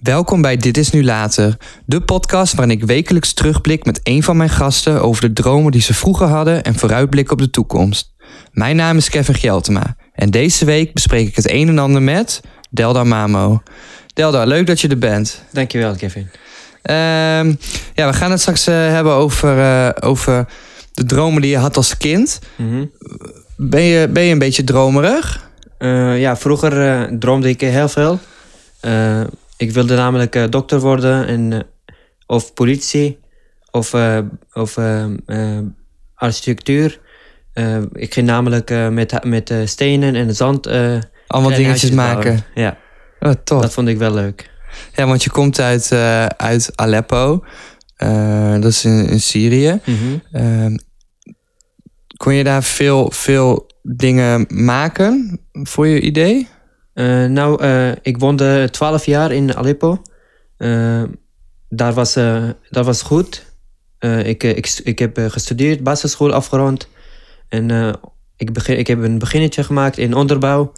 Welkom bij Dit is Nu Later, de podcast waarin ik wekelijks terugblik met een van mijn gasten over de dromen die ze vroeger hadden en vooruitblik op de toekomst. Mijn naam is Kevin Gjeltema en deze week bespreek ik het een en ander met Delda Mamo. Delda, leuk dat je er bent. Dankjewel, Kevin. Ehm, ja, we gaan het straks eh, hebben over, eh, over de dromen die je had als kind. Ben je, ben je een beetje dromerig? Eh, ja, vroeger eh, droomde ik heel veel. Eh, ik wilde namelijk eh, dokter worden en, eh, of politie of, eh, of eh, eh, architectuur. Eh, ik ging namelijk eh, met, met eh, stenen en zand... eh, Allemaal kleine dingetjes huisjes bouwen. maken. Ja, Oh, tof. dat vond ik wel leuk. Ja, want je komt uit, eh, uit Aleppo. Eh, dat is in, in Syrië. Ehm, kon je daar veel, veel dingen maken voor je idee? Eh, nou, eh, ik woonde 12 jaar in Aleppo. Eh, daar, was, eh daar was goed. Eh, ik, eh, ik, stu- ik heb eh, gestudeerd, basisschool afgerond. En eh, ik, begin, ik heb een beginnetje gemaakt in onderbouw.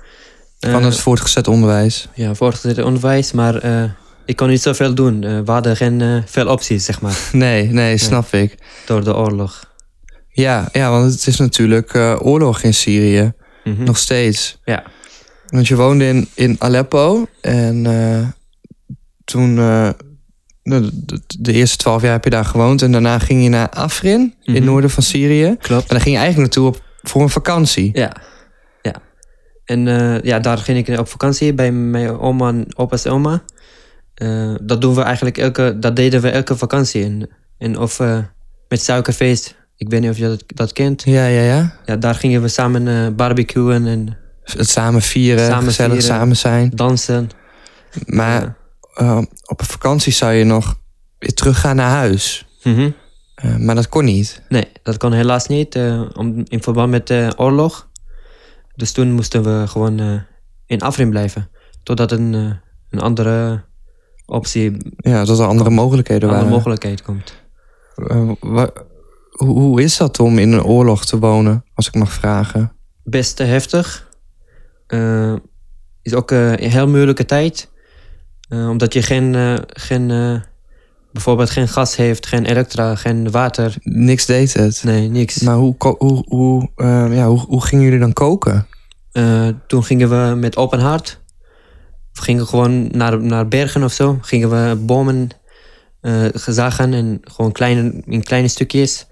Eh, Van het voortgezet onderwijs. ja, voortgezet onderwijs, maar eh, ik kon niet zoveel doen. Eh, we hadden geen eh, veel opties, zeg maar, Nee, nee, snap ik. door de oorlog. Ja, ja, want het is natuurlijk eh, oorlog in Syrië. Mhm. Nog steeds. Ja. Hm. Want je woonde in, in Aleppo. En eh, toen... eh, nou, de, de- de eerste twaalf jaar heb je daar gewoond. En daarna ging je naar Afrin, in het Mhm. noorden van Syrië. Klopt. Maar daar ging je eigenlijk naartoe op, voor een vakantie. Ja. ja. En eh, ja, daar ging ik op vakantie bij mijn oma en opa's oma. Eh, dat doen we eigenlijk elke... Dat deden we elke vakantie. En, en of eh, met suikerfeest. Ik weet niet of je dat, dat kent. Ja, ja, ja. Ja, daar gingen we samen eh, barbecuen en Het samen vieren, Samen gezellig vieren. samen zijn. dansen. Maar Ja. eh, op een vakantie zou je nog weer teruggaan naar huis. Mhm. Eh, maar dat kon niet. Nee, dat kon helaas niet. eh, om, in verband met de oorlog. Dus toen moesten we gewoon eh, in Afrin blijven. Totdat een, eh, een andere optie, Ja, dat er andere mogelijkheden een andere waren. mogelijkheid komt. Eh, wa- hoe, hoe is dat om in een oorlog te wonen, als ik mag vragen? best eh, heftig. Eh, is ook eh, een heel moeilijke tijd. Eh, omdat je geen, eh, geen eh, bijvoorbeeld geen gas heeft, geen elektra, geen water. Niks deed het. Nee, niks. Maar hoe, ko- hoe, hoe, eh, ja, hoe, hoe gingen jullie dan koken? Eh, toen gingen we met open hart. We gingen gewoon naar, naar bergen of zo. Gingen we bomen eh, zagen en gewoon kleine, in kleine stukjes.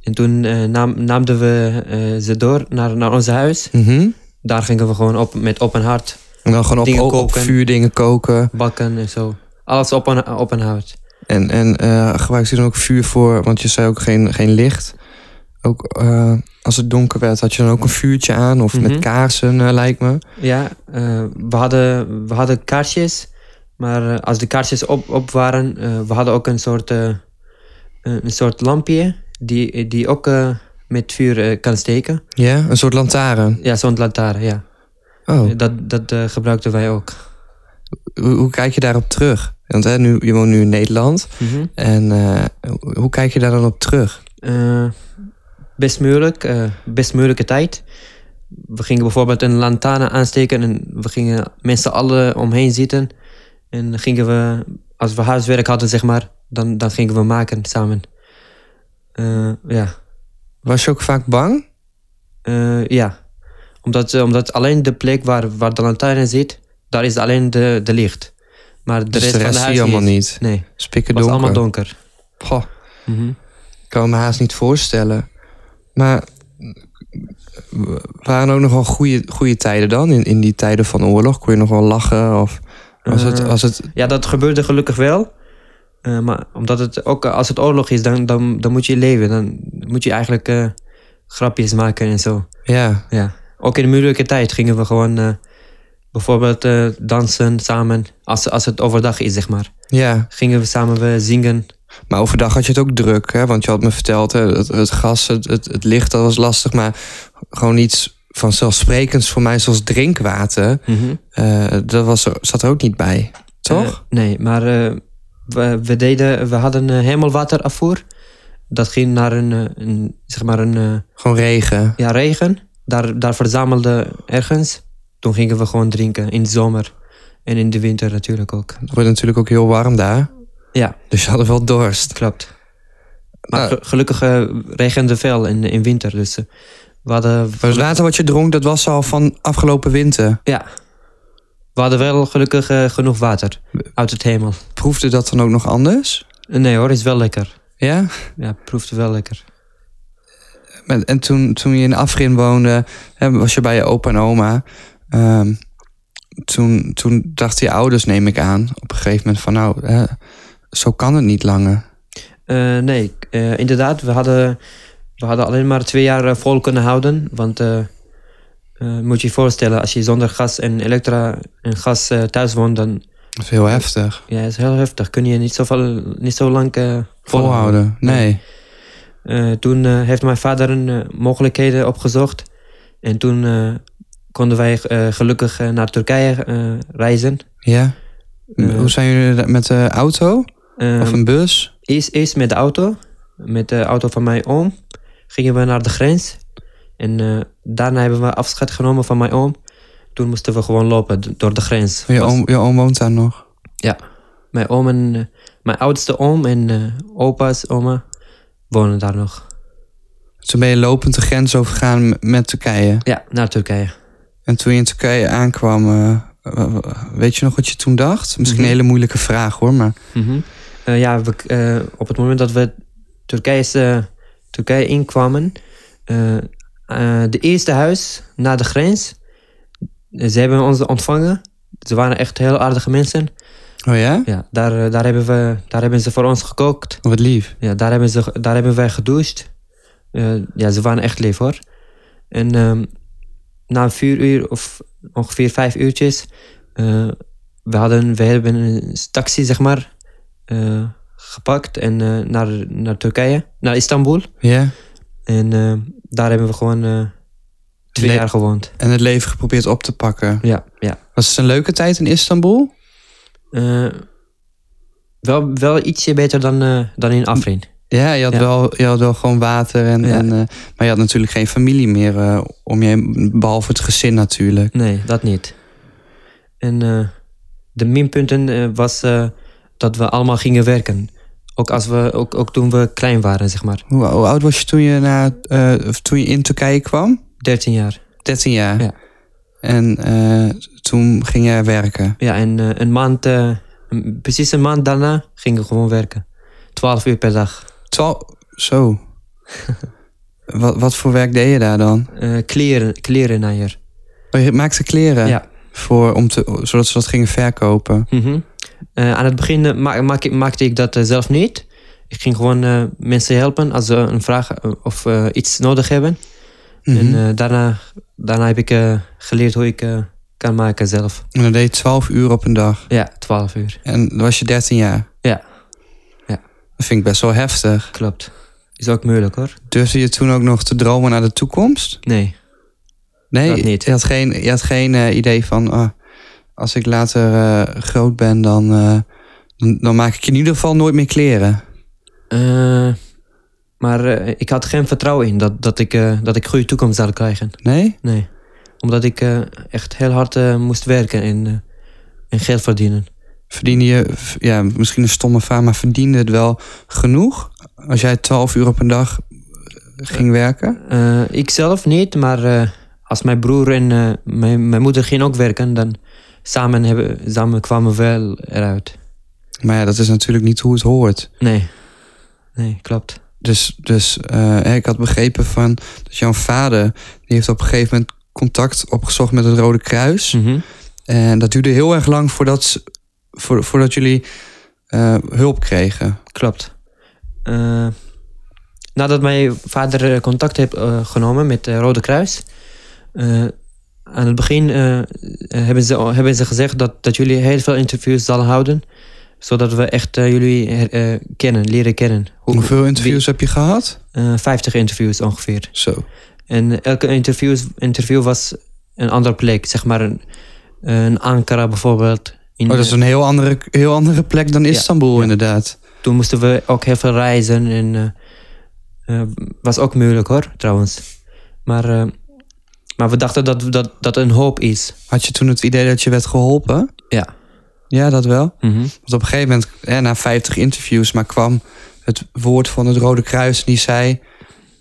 En toen eh, nam, namen we eh, ze door naar, naar ons huis. Mhm. Daar gingen we gewoon op, met open hart En dan gewoon op, Dingen op, op koken. vuur dingen koken. bakken en zo. Alles op een, op een hout. En, en eh gebruikte je dan ook vuur voor, want je zei ook geen, geen licht. Ook eh, als het donker werd, had je dan ook een vuurtje aan of Mhm. met kaarsen, eh, lijkt me. Ja, eh, we, hadden, we hadden kaarsjes, maar eh, als de kaarsjes op, op waren, eh, we hadden ook een soort, eh, eh, een soort lampje die, die ook eh, met vuur eh, kan steken. Ja, een soort lantaarn. Ja, zo'n lantaarn, ja. Oh, Dat, dat eh, gebruikten wij ook. hoe, hoe kijk je daarop terug? Want hè, nu, je woont nu in Nederland. En eh, hoe- hoe kijk je daar dan op terug? Eh, best moeilijk, eh, best moeilijke tijd. We gingen bijvoorbeeld een lantaarn aansteken en we gingen mensen allen omheen zitten. En dan gingen we, als we huiswerk hadden, zeg maar, dan, dan gingen we maken samen. Eh, ja. Was je ook vaak bang? Eh, ja. Omdat, eh, omdat alleen de plek waar, waar de lantaarn zit, daar is alleen de, de licht. Maar de Dus rest, de van rest de zie huis je allemaal niet. niet. Nee, Spikken het donker. was allemaal donker. Goh, Mhm. ik kan me haast niet voorstellen. Maar eh, waren er ook nog wel goede, goede tijden dan? In, in die tijden van oorlog kon je nog wel lachen? Of was het, Eh, was het Ja, dat gebeurde gelukkig wel. Eh, maar omdat het ook eh, als het oorlog is, dan, dan, dan moet je leven. Dan moet je eigenlijk eh, grapjes maken en zo. Ja, Ja. Ook in de moeilijke tijd gingen we gewoon eh, bijvoorbeeld eh, dansen samen. Als, als het overdag is, zeg maar. ja. Gingen we samen eh, zingen. Maar overdag had je het ook druk, hè? Want je had me verteld, hè, het, het gas, het, het, het licht, dat was lastig. Maar gewoon iets vanzelfsprekends voor mij, zoals drinkwater, eh, dat was er, zat er ook niet bij. Toch? Eh, nee, maar eh, we, we, deden, we hadden eh, hemelwaterafvoer. Dat ging naar een, eh, een, zeg maar een eh, gewoon regen. ja, regen. Daar, daar verzamelden ergens. Toen gingen we gewoon drinken in de zomer. En in de winter natuurlijk ook. Het wordt natuurlijk ook heel warm daar. Ja. Dus je hadden wel dorst. Klopt. Maar Nou. ge- gelukkig eh, regende veel in, in winter. Dus eh, we, hadden, Maar het water wat je dronk, dat was al van afgelopen winter. ja. we hadden wel gelukkig eh, genoeg water uit het hemel. Proefde dat dan ook nog anders? Nee hoor, is wel lekker. Ja? Ja, proefde wel lekker. Met- En toen, toen je in Afrin woonde, hè, was je bij je opa en oma. Ehm, toen, toen dachten je ouders, neem ik aan, op een gegeven moment van nou, hè, zo kan het niet langer. Eh, nee, eh, inderdaad, we hadden, we hadden alleen maar twee jaar eh, vol kunnen houden. Want eh, eh, moet je je voorstellen, als je zonder gas en elektra en gas eh, thuis woont, dan Dat is heel heftig. ja, is heel heftig. Kun je niet, zoveel, niet zo lang eh, Volhouden. Nee. Eh, toen eh, heeft mijn vader een eh, mogelijkheden opgezocht. En toen eh, konden wij eh, gelukkig eh, naar Turkije eh, reizen. Ja? Eh. Hoe zijn jullie daar- met de auto? Eh, Of een bus? eerst, eerst met de auto, met de auto van mijn oom, gingen we naar de grens. En eh, daarna hebben we afscheid genomen van mijn oom. Toen moesten we gewoon lopen d- door de grens. Je Was- oom, je oom woont daar nog. Mijn oom en eh, mijn oudste oom en eh, opa's, oma wonen daar nog. Toen ben je lopend de grens overgegaan m- met Turkije. Ja, naar Turkije. En toen je in Turkije aankwam, eh, eh, weet je nog wat je toen dacht? Misschien Mhm. een hele moeilijke vraag hoor, maar Eh, ja, we, eh, op het moment dat we Turkije, eh, Turkije inkwamen, eh, eh, de eerste huis na de grens, eh, ze hebben ons ontvangen. Ze waren echt heel aardige mensen. oh ja? Ja, daar, eh, daar, hebben, we, daar hebben ze voor ons gekookt. Wat lief. Ja, daar, hebben ze, daar hebben wij gedoucht. Eh, ja, ze waren echt lief hoor. En ehm, na vier uur of ongeveer vijf uurtjes, eh, we, hadden, we hebben een taxi zeg maar eh, gepakt en eh, naar, naar Turkije, naar Istanbul. Ja. En eh, daar hebben we gewoon eh, twee Le- jaar gewoond. En het leven geprobeerd op te pakken. Ja, ja. Was het een leuke tijd in Istanbul? Eh, wel, wel ietsje beter dan, eh, dan in Afrin. Ja, je had, Ja. Wel, je had wel gewoon water. En, Ja. en, eh, maar je had natuurlijk geen familie meer eh, om je heen, behalve het gezin natuurlijk. Nee, dat niet. En eh, de minpunten eh, was eh, dat we allemaal gingen werken. Ook, als we, ook, ook toen we klein waren, zeg maar. Hoe, hoe oud was je toen je, naar, eh, of toen je in Turkije kwam? 13 jaar. 13 jaar. Ja. En eh, toen ging jij werken. Ja, en eh, een maand, eh, een- precies een maand daarna gingen we gewoon werken. 12 uur per dag. Twal Zo. wat, wat voor werk deed je daar dan? Eh kleren, klerennaaier. Oh, je maakte kleren? Ja. Voor, om te, zodat ze dat gingen verkopen. Mhm. Eh, aan het begin eh, ma- maak- maakte ik dat eh, zelf niet. Ik ging gewoon eh, mensen helpen als ze een vraag eh, of eh, iets nodig hebben. Mhm. En eh, daarna, daarna heb ik eh, geleerd hoe ik eh, kan maken zelf. En dat deed je 12 uur op een dag. Ja, 12 uur. En dan was je 13 jaar. Ja. Ja. Dat vind ik best wel heftig. Klopt. Is ook moeilijk hoor. Durfde je toen ook nog te dromen naar de toekomst? Nee. Nee, Dat niet. je had geen, je had geen eh, idee van... ah, als ik later eh, groot ben, dan, eh, dan, dan maak ik in ieder geval nooit meer kleren. Eh, maar eh, ik had geen vertrouwen in dat, dat ik eh, dat ik goede toekomst zou krijgen. Nee? Nee. Omdat ik eh, echt heel hard eh, moest werken en, eh, en geld verdienen. Verdiende je, v- ja, misschien een stomme vraag, maar verdiende het wel genoeg? Als jij 12 uur op een dag eh, ging werken? Eh ik zelf niet, maar eh, als mijn broer en eh, mijn, mijn moeder gingen ook werken, dan samen, hebben, samen kwamen we wel eruit. Maar ja, dat is natuurlijk niet hoe het hoort. Nee. Nee, klopt. Dus, dus eh, hè, ik had begrepen van dat jouw vader, die heeft op een gegeven moment contact opgezocht met het Rode Kruis. Mhm. En dat duurde heel erg lang voordat, ze- voor, voordat jullie eh, hulp kregen. Klopt. Eh, nadat mijn vader eh, contact heeft eh, genomen met het Rode Kruis, eh, aan het begin eh, eh, hebben, ze, hebben ze gezegd dat, dat jullie heel veel interviews zullen houden, zodat we echt eh, jullie eh, kennen, leren kennen. Hoe- Hoeveel interviews heb je gehad? Oh, eh, 50 interviews ongeveer. Zo. En elke interview, interview was een andere plek, zeg maar een, een Ankara bijvoorbeeld. In, Oh, dat is een heel andere, heel andere plek dan Istanbul, inderdaad. Toen moesten we ook heel veel reizen en eh, eh, was ook moeilijk hoor, trouwens. Maar, eh, maar we dachten dat, dat dat een hoop is. Had je toen het idee dat je werd geholpen? Ja. Ja, dat wel. Mhm. Want op een gegeven moment, hè, na 50 interviews, maar kwam het woord van het Rode Kruis en die zei: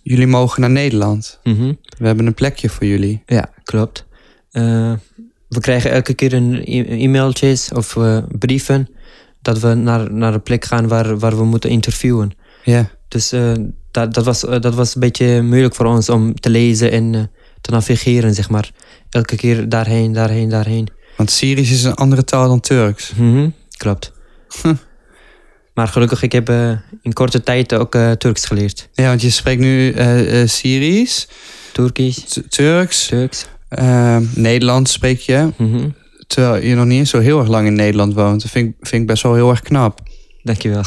Jullie mogen naar Nederland. Mhm. We hebben een plekje voor jullie. Ja, klopt. Eh, we krijgen elke keer een e- e-mailtjes of eh, brieven dat we naar, naar een plek gaan waar, waar we moeten interviewen. Ja, Dus eh, dat, dat, was, eh, dat was een beetje moeilijk voor ons om te lezen en eh, te navigeren, zeg maar. Elke keer daarheen, daarheen, daarheen. want Syrisch is een andere taal dan Turks. Mhm, Klopt. Hm. Maar gelukkig, ik heb eh, in korte tijd ook eh, Turks geleerd. Ja, want je spreekt nu eh, eh, Syrisch, Turkisch, T- Turks, Turks. eh, Nederlands spreek je. Mhm, Terwijl je nog niet eens zo heel erg lang in Nederland woont. Dat vind ik, vind ik best wel heel erg knap. Dankjewel.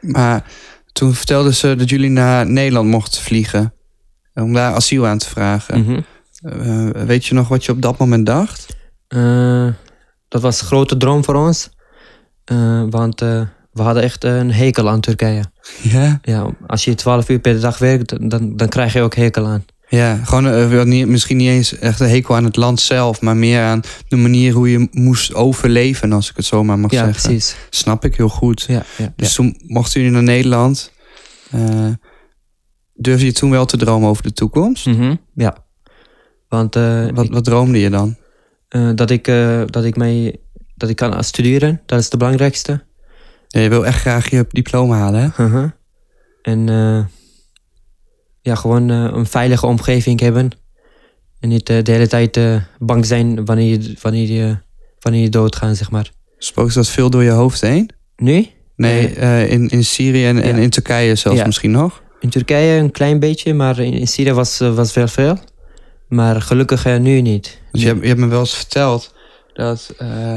Maar toen vertelden ze dat jullie naar Nederland mochten vliegen. Om daar asiel aan te vragen. Mhm. Eh, weet je nog wat je op dat moment dacht? Eh, dat was een grote droom voor ons. Eh, want eh, we hadden echt een hekel aan Turkije. Ja. Ja, als je 12 uur per dag werkt, dan, dan krijg je ook hekel aan. Ja, gewoon eh, wel niet, misschien niet eens echt een hekel aan het land zelf, maar meer aan de manier hoe je moest overleven, als ik het zo maar mag ja, zeggen. precies. Snap ik heel goed. Ja, ja, Dus toen mochten jullie naar Nederland. Eh durfde je toen wel te dromen over de toekomst? Mhm, Ja. Want eh, Wat, ik- wat droomde je dan? eh, dat, ik, eh, dat, ik mij, dat ik kan studeren, dat is het belangrijkste. Ja, je wil echt graag je diploma halen, hè? Mhm. En eh, ja, gewoon eh, een veilige omgeving hebben. En niet eh, de hele tijd eh, bang zijn wanneer je, wanneer, je, wanneer je doodgaat, zeg maar. Spookt dat veel door je hoofd heen? Nu? Nee, Nee. eh, in, in Syrië en, en Ja. in Turkije zelfs Ja. misschien nog. In Turkije een klein beetje, maar in, in Syrië was, eh, was wel veel. Maar gelukkig eh, nu niet. Want Dus je, hebt, je hebt me wel eens verteld dat eh,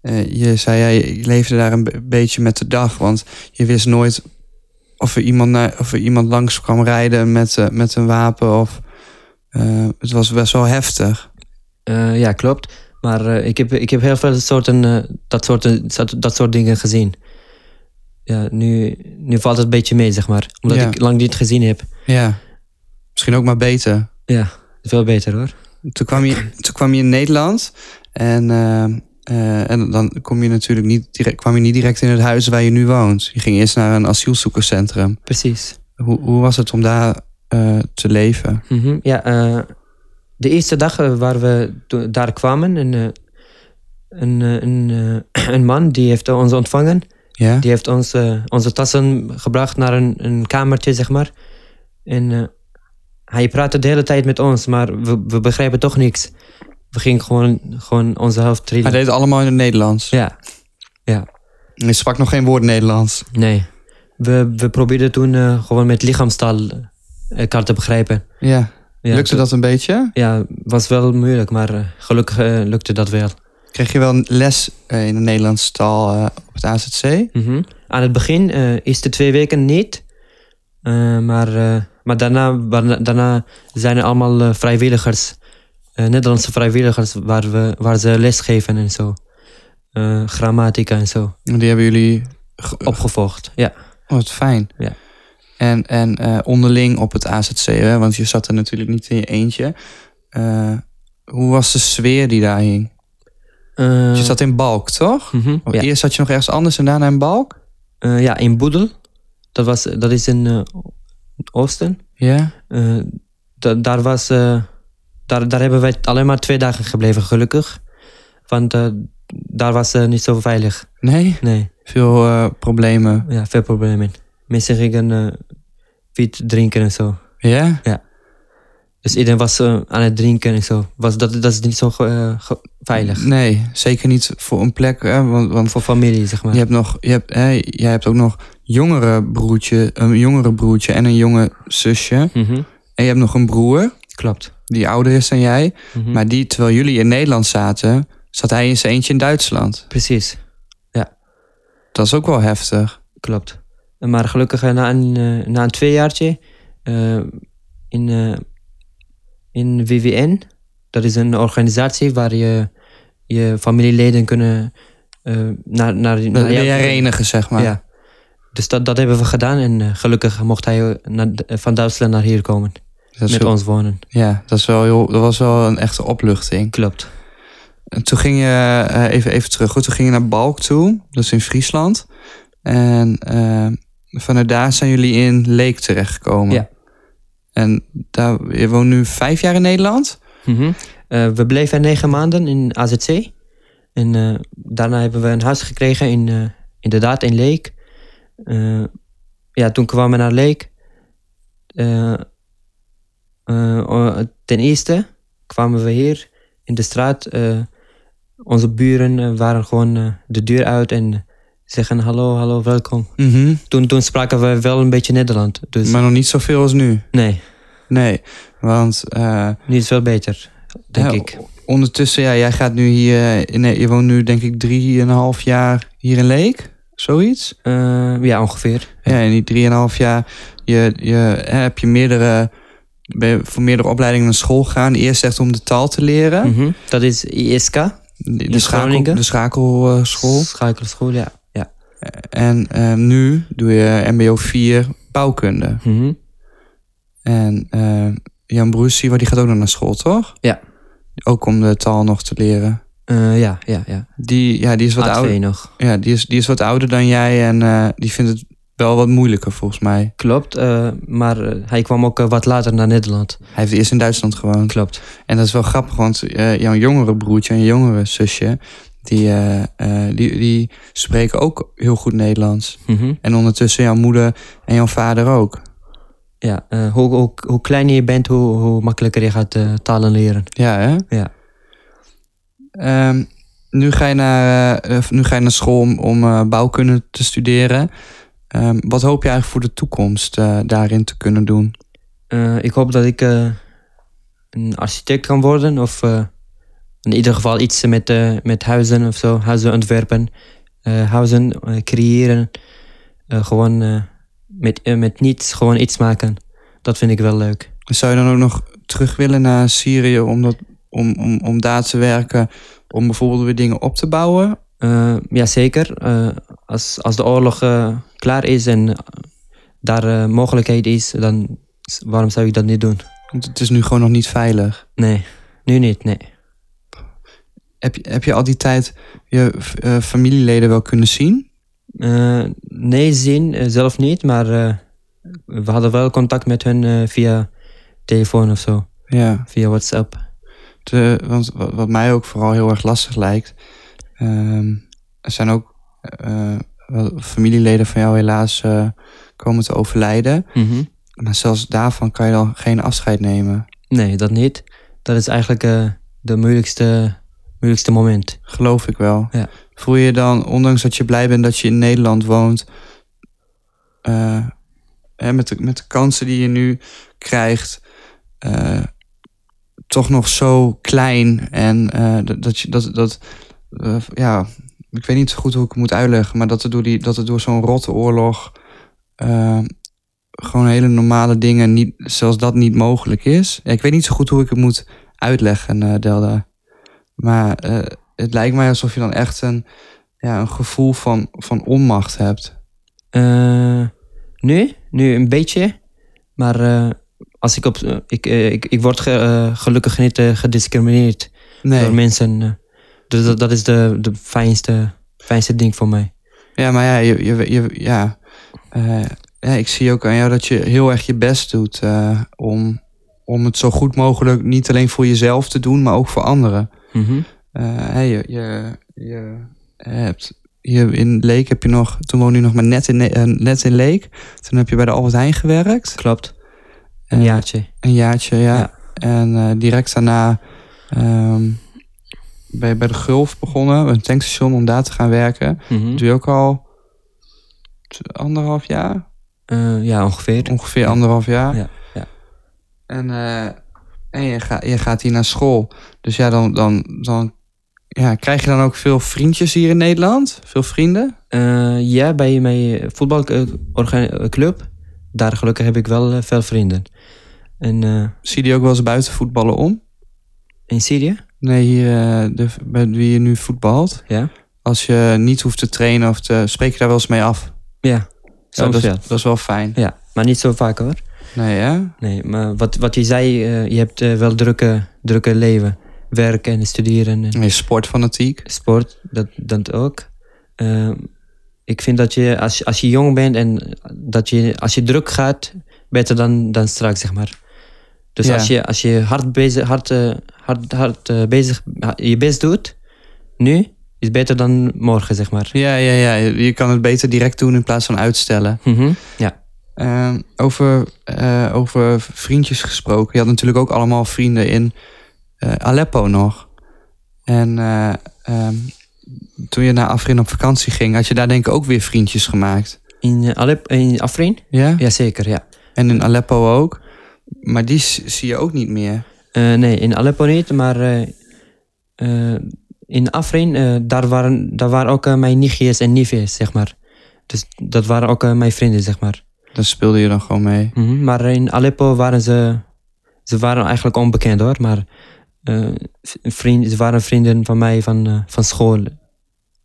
eh, je zei, ja, je je leefde daar een be- beetje met de dag. Want je wist nooit of er iemand, naar, of er iemand langs kwam rijden met, eh, met een wapen. Of, eh, het was best wel heftig. Eh, ja, klopt. Maar eh, ik, heb, ik heb heel veel soorten, eh, dat, soorten, dat, dat soort dingen gezien. Ja, nu, nu valt het een beetje mee, zeg maar. Omdat Ja. ik lang niet gezien heb. Ja, misschien ook maar beter. Veel beter hoor. Toen kwam je, toen kwam je in Nederland en, eh, eh, en dan kom je natuurlijk niet direct, kwam je niet direct in het huis waar je nu woont. Je ging eerst naar een asielzoekerscentrum. Precies. Hoe, hoe was het om daar eh, te leven? Mhm, Ja, eh, de eerste dag eh, waar we to- daar kwamen, een, eh, een, eh, een, eh, een man die heeft ons ontvangen. Ja? Die heeft ons, eh, onze tassen gebracht naar een, een kamertje, zeg maar. En eh, hij praatte de hele tijd met ons, maar we, we begrijpen toch niks. We gingen gewoon, gewoon onze hoofd Hij trillen. deed het allemaal in het Nederlands. Ja, En Hij sprak nog geen woord Nederlands. nee. We, we probeerden toen eh, gewoon met lichaamstaal eh, elkaar te begrijpen. Ja. Ja, Lukte dat een beetje? Ja, was wel moeilijk, maar eh, gelukkig eh, lukte dat wel. Kreeg je wel een les eh, in de Nederlandse taal eh, op het AZC? Mhm. Aan het begin, eh eerste twee weken niet. Eh, maar eh, maar daarna, waarna- daarna zijn er allemaal eh, vrijwilligers. eh, Nederlandse vrijwilligers waar, we, waar ze les geven en zo. Eh, grammatica en zo. En Die hebben jullie... ge- eh. Opgevolgd. Ja, Oh, wat fijn. Ja. En, en eh, onderling op het AZC, hè? want je zat er natuurlijk niet in je eentje. Eh, hoe was de sfeer die daar hing? Eh, Dus je zat in Balk, toch? mhm, ja. Eerst zat je nog ergens anders en daarna in Balk? Eh, ja, in Boedel. Dat, was, dat is in eh, Oosten. Ja. Eh, da- daar, was, eh, daar, daar hebben wij alleen maar twee dagen gebleven, gelukkig. Want eh, daar was eh, niet zo veilig. Nee? Nee. Veel eh, problemen. Ja, veel problemen. Mensen gingen eh wiet drinken en zo. Ja? Dus iedereen was eh, aan het drinken en zo. Was, dat, dat is niet zo ge- eh, ge- veilig. Nee, zeker niet voor een plek. Hè? Want, want Voor familie, zeg maar. je hebt nog, je hebt, hè, jij hebt ook nog jongere broertje, een jongere broertje en een jonge zusje. Mhm. En je hebt nog een broer Klopt. die ouder is dan jij. Mhm. Maar die, terwijl jullie in Nederland zaten, zat hij in zijn eentje in Duitsland. Precies, Dat is ook wel heftig. klopt. Maar gelukkig eh, na een, eh, na een tweejaartje eh, in, eh, in WWN, dat is een organisatie waar je je familieleden kunnen eh, naar, naar, naar Dan ben jou- je herenigen, zeg maar. Nou, Ja. Dus dat, dat hebben we gedaan en eh, gelukkig mocht hij eh, naar, eh, van Duitsland naar hier komen. dat is met heel- ons wonen. ja, dat, is wel heel, dat was wel een echte opluchting. Klopt. En toen ging je, eh, even, even terug, goed, toen ging je naar Balk toe, dat is in Friesland. En eh, vanuit daar zijn jullie in Leek terechtgekomen. Ja. En daar, je woont nu vijf jaar in Nederland? Mhm. Eh, we bleven negen maanden in AZC. En eh, daarna hebben we een huis gekregen in, eh, inderdaad in Leek. Eh, ja, toen kwamen we naar Leek. Eh, eh, o- ten eerste kwamen we hier in de straat. eh, onze buren eh, waren gewoon eh, de deur uit en zeggen hallo, hallo, welkom. Mhm. Toen, toen spraken we wel een beetje Nederland. Dus Maar nog niet zoveel als nu. nee, Nee, want eh, nu is het wel beter, denk Ja, ik. ondertussen, ja, jij gaat nu hier, eh, in, nee, je woont nu denk ik drieënhalf jaar hier in Leek, zoiets. Eh, ja, ongeveer. Ja, in die drieënhalf jaar je, je, hè, heb je meerdere, ben je voor meerdere opleidingen naar school gegaan. Eerst echt om de taal te leren. Mhm. Dat is ISK. De, de In schakel, Groningen? de schakelschool. Schakelschool, ja. En eh, nu doe je MBO 4 bouwkunde. Mhm. En eh, Jan Broes, die gaat ook nog naar school, toch? Ja. Ook om de taal nog te leren. Eh, ja, ja, ja. Die, ja, die is wat A2 ouder. nog. Ja, die is, die is wat ouder dan jij en eh, die vindt het wel wat moeilijker volgens mij. Klopt, eh, maar eh, hij kwam ook eh, wat later naar Nederland. Hij heeft eerst in Duitsland gewoond. Klopt. En dat is wel grappig, want eh, jouw jongere broertje en je jongere zusje, die, eh, eh, die, die spreken ook heel goed Nederlands. Mhm. En ondertussen jouw moeder en jouw vader ook. Ja, eh, hoe, hoe, hoe kleiner je bent, hoe, hoe makkelijker je gaat eh, talen leren. Ja, hè? Ja. Ehm, nu, ga je naar, eh, of nu ga je naar school om, om eh, bouwkunde te studeren. Ehm, wat hoop je eigenlijk voor de toekomst eh, daarin te kunnen doen? Eh, ik hoop dat ik eh, een architect kan worden of eh, in ieder geval iets met, eh, met huizen of zo. Huizen ontwerpen, eh, huizen eh, creëren. Eh, gewoon eh, met, eh, met niets gewoon iets maken. Dat vind ik wel leuk. Zou je dan ook nog terug willen naar Syrië om, dat, om, om, om daar te werken? Om bijvoorbeeld weer dingen op te bouwen? Eh, ja, zeker. Eh, als, als de oorlog eh, klaar is en eh, daar eh, mogelijkheid is, dan s- waarom zou ik dat niet doen? Want het is nu gewoon nog niet veilig. Nee, nu niet, nee. Heb je, heb je al die tijd je eh, familieleden wel kunnen zien? Eh, nee, zien eh, zelf niet, maar eh, we hadden wel contact met hun eh, via telefoon of zo, Ja, via WhatsApp. de, eh, want wat, wat mij ook vooral heel erg lastig lijkt... ehm, er zijn ook eh, wel familieleden van jou helaas eh, komen te overlijden. Mhm. Maar zelfs daarvan kan je dan geen afscheid nemen. Nee, dat niet. Dat is eigenlijk eh de moeilijkste, moeilijkste moment. Geloof ik wel. Ja. Voel je je dan, ondanks dat je blij bent dat je in Nederland woont, eh, hè, met, de, met de kansen die je nu krijgt, eh, toch nog zo klein en eh, dat, dat je dat, dat eh, ja, ik weet niet zo goed hoe ik het moet uitleggen, maar dat er door, die, dat er door zo'n rotte oorlog eh, gewoon hele normale dingen, niet, zelfs dat niet mogelijk is. Ja, ik weet niet zo goed hoe ik het moet uitleggen, eh, Delda. Maar eh, het lijkt mij alsof je dan echt een, ja, een gevoel van, van onmacht hebt. Eh, nu, nu een beetje. Maar eh, als ik op. eh, ik, eh, ik, ik word ge- eh, gelukkig niet eh, gediscrimineerd door Nee. mensen. eh. dus dat, dat is de, de fijnste, fijnste ding voor mij. Ja, maar ja, je, je, je- ja. Eh, ja, ik zie ook aan jou dat je heel erg je best doet eh, om, om het zo goed mogelijk niet alleen voor jezelf te doen, maar ook voor anderen. Mhm. Eh, hè, je, je, je hebt hier in Leek heb je nog, toen woonde je nog maar net in, Ne- eh, net in Leek. Toen heb je bij de Albert Heijn gewerkt. Klopt. Een Eh, jaartje. Een jaartje, ja. Ja. En eh, direct daarna ehm, ben je bij de Gulf begonnen, een tankstation, om daar te gaan werken. Mhm. Hm. Dat doe je ook al t- anderhalf jaar? Eh, ja, ongeveer. Ongeveer anderhalf jaar. Ja, ja. En, eh, en je, ga, je gaat hier naar school. Dus ja, dan, dan, dan ja, krijg je dan ook veel vriendjes hier in Nederland? Veel vrienden? Eh, ja, bij mijn voetbalclub. Daar gelukkig heb ik wel eh, veel vrienden. En eh, Zie je die ook wel eens buiten voetballen om? in Syrië? Nee, hier, eh, de, bij wie je nu voetbalt. Ja. Als je niet hoeft te trainen of te... Spreek je daar wel eens mee af? Ja. Ja, Soms dat, wel. is, dat is wel fijn. Ja, maar niet zo vaak hoor. Nee, hè? Nee, maar wat, wat je zei, eh, je hebt eh, wel drukke, drukke leven. werken en studeren en Je is sportfanatiek. sport, dat, dat ook. Ehm, ik vind dat je als, je- als je jong bent en dat je, als je druk gaat, beter dan, dan straks, zeg maar. Dus Ja. als, je, als je hard, bezig, hard, eh, hard, hard eh, bezig, ha- je best doet, nu is beter dan morgen, zeg maar. Ja, ja, ja. Je kan het beter direct doen in plaats van uitstellen. Mhm, Ja. Eh, over, eh, over vriendjes gesproken. Je had natuurlijk ook allemaal vrienden in eh, Aleppo nog. En eh, ehm, toen je naar Afrin op vakantie ging, had je daar denk ik ook weer vriendjes gemaakt. In, eh, Alep, in Afrin? Ja? Jazeker, ja. En in Aleppo ook. Maar die s- zie je ook niet meer. Eh, nee, in Aleppo niet, maar eh, eh, in Afrin, eh, daar, waren, daar waren ook eh, mijn nichtjes en neefjes, zeg maar. Dus dat waren ook eh, mijn vrienden, zeg maar. Dan speelde je dan gewoon mee. Mhm, Maar in Aleppo waren ze, ze waren eigenlijk onbekend hoor, maar eh, v- vriend, ze waren vrienden van mij van, eh, van school.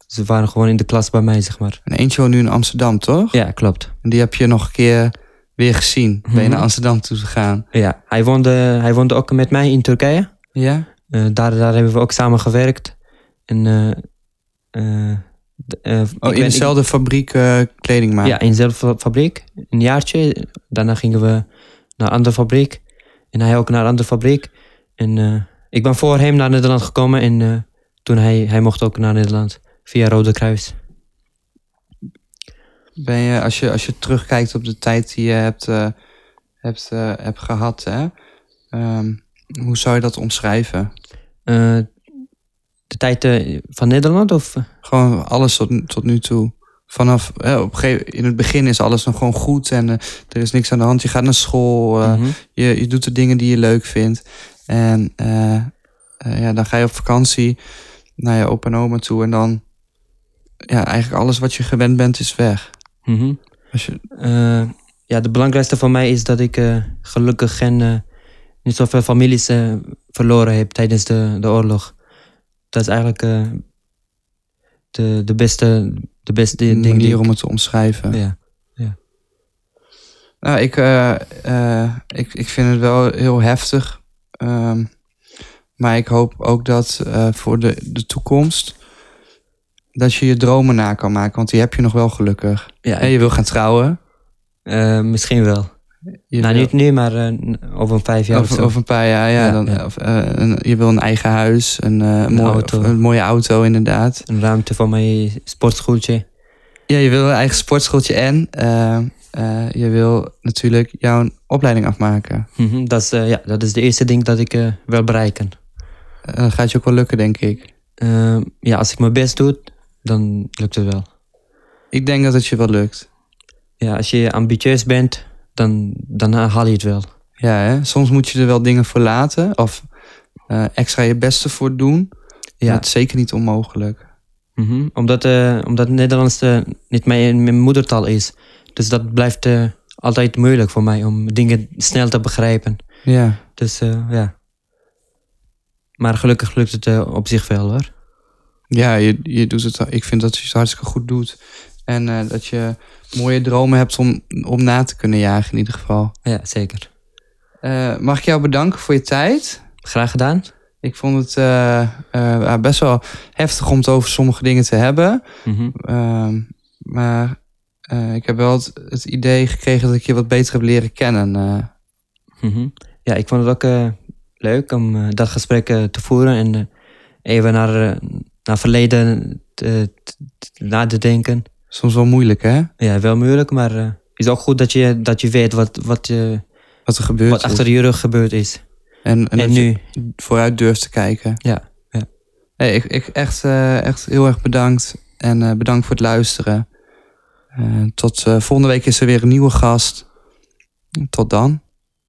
Ze waren gewoon in de klas bij mij, zeg maar. En eentje woont nu in Amsterdam, toch? Ja, klopt. En die heb je nog een keer weer gezien. Ben je Mhm. naar Amsterdam toe gegaan. Ja, hij woonde, hij woonde ook met mij in Turkije. Ja? Eh, daar, daar hebben we ook samen gewerkt. En, eh, eh, d- eh, ik Oh, ben- in ik- dezelfde fabriek eh, kleding maken. Ja, in dezelfde fa- fabriek. Een jaartje. Daarna gingen we naar een andere fabriek. En hij ook naar een andere fabriek. En eh, ik ben voor hem naar Nederland gekomen. En eh, toen hij, hij mocht ook naar Nederland. Via Rode Kruis. Ben je, als je, als je terugkijkt op de tijd die je hebt, eh, hebt, eh, hebt gehad, hè? ehm, hoe zou je dat omschrijven? Eh, de tijd eh, van Nederland of... Gewoon alles tot, nu- tot nu toe. Vanaf, eh, op een gegeven, in het begin is alles nog gewoon goed en eh, er is niks aan de hand. Je gaat naar school, eh, Mhm. je, je doet de dingen die je leuk vindt. En eh, eh, ja, dan ga je op vakantie naar je opa en oma toe en dan... Ja, eigenlijk alles wat je gewend bent is weg. Mhm. Als je, Eh, ja, de belangrijkste voor mij is dat ik eh, gelukkig geen, eh, niet zoveel families eh, verloren heb tijdens de, de oorlog. Dat is eigenlijk eh, de, de beste, de beste een ding die manier ik- om het te omschrijven. Ja. Nou, ik, eh, eh, ik, ik vind het wel heel heftig. Ehm, maar ik hoop ook dat eh, voor de, de toekomst... dat je je dromen na kan maken. Want die heb je nog wel gelukkig. Ja, En je wil gaan trouwen. eh, misschien wel. Je nou, wil- niet nu, maar eh, over vijf jaar of, over, zo. over een paar jaar, ja. Ja, dan, ja. Of, eh, een- je wil een eigen huis. Een, eh, mooie, auto. of een mooie auto, inderdaad. Een ruimte voor mijn sportschooltje. Ja, je wil een eigen sportschooltje. En eh, eh, je wil natuurlijk jouw opleiding afmaken. Mhm, dat, is, eh, ja, dat is de eerste ding dat ik eh, wil bereiken. Eh, dat gaat je ook wel lukken, denk ik. Eh, ja, als ik mijn best doe, dan lukt het wel. Ik denk dat het je wel lukt. Ja, als je ambitieus bent, dan, dan haal je het wel. Ja, hè? soms moet je er wel dingen voor laten of eh, extra je beste voor doen. Ja. Ja. Dat is zeker niet onmogelijk. Mhm. omdat, eh, omdat Nederlands eh, niet mijn, mijn moedertaal is. Dus dat blijft eh, altijd moeilijk voor mij om dingen snel te begrijpen. Ja. Dus eh, ja. Maar gelukkig lukt het eh, op zich wel hoor. Ja, je, je doet het, ik vind dat je het hartstikke goed doet. En eh, dat je mooie dromen hebt om, om na te kunnen jagen in ieder geval. Ja, zeker. Eh, mag ik jou bedanken voor je tijd? Graag gedaan. Ik vond het eh, eh, ja, best wel heftig om het over sommige dingen te hebben. Mhm. Ehm, maar eh, ik heb wel het, het idee gekregen dat ik je wat beter heb leren kennen. eh. Mhm. Ja, ik vond het ook eh, leuk om eh, dat gesprek eh, te voeren en eh, even naar, eh, naar verleden te, te- te- na te denken. soms wel moeilijk, hè? Ja, wel moeilijk, maar eh, is ook goed dat je, dat je weet wat, wat, je Wat er gebeurt. wat achter je rug gebeurd is. En, en, En, dat je nu. vooruit durft te kijken. Ja, ja. Hey, ik, ik echt, eh, echt heel erg bedankt. En eh, bedankt voor het luisteren. Eh, tot eh, volgende week is er weer een nieuwe gast. Tot dan.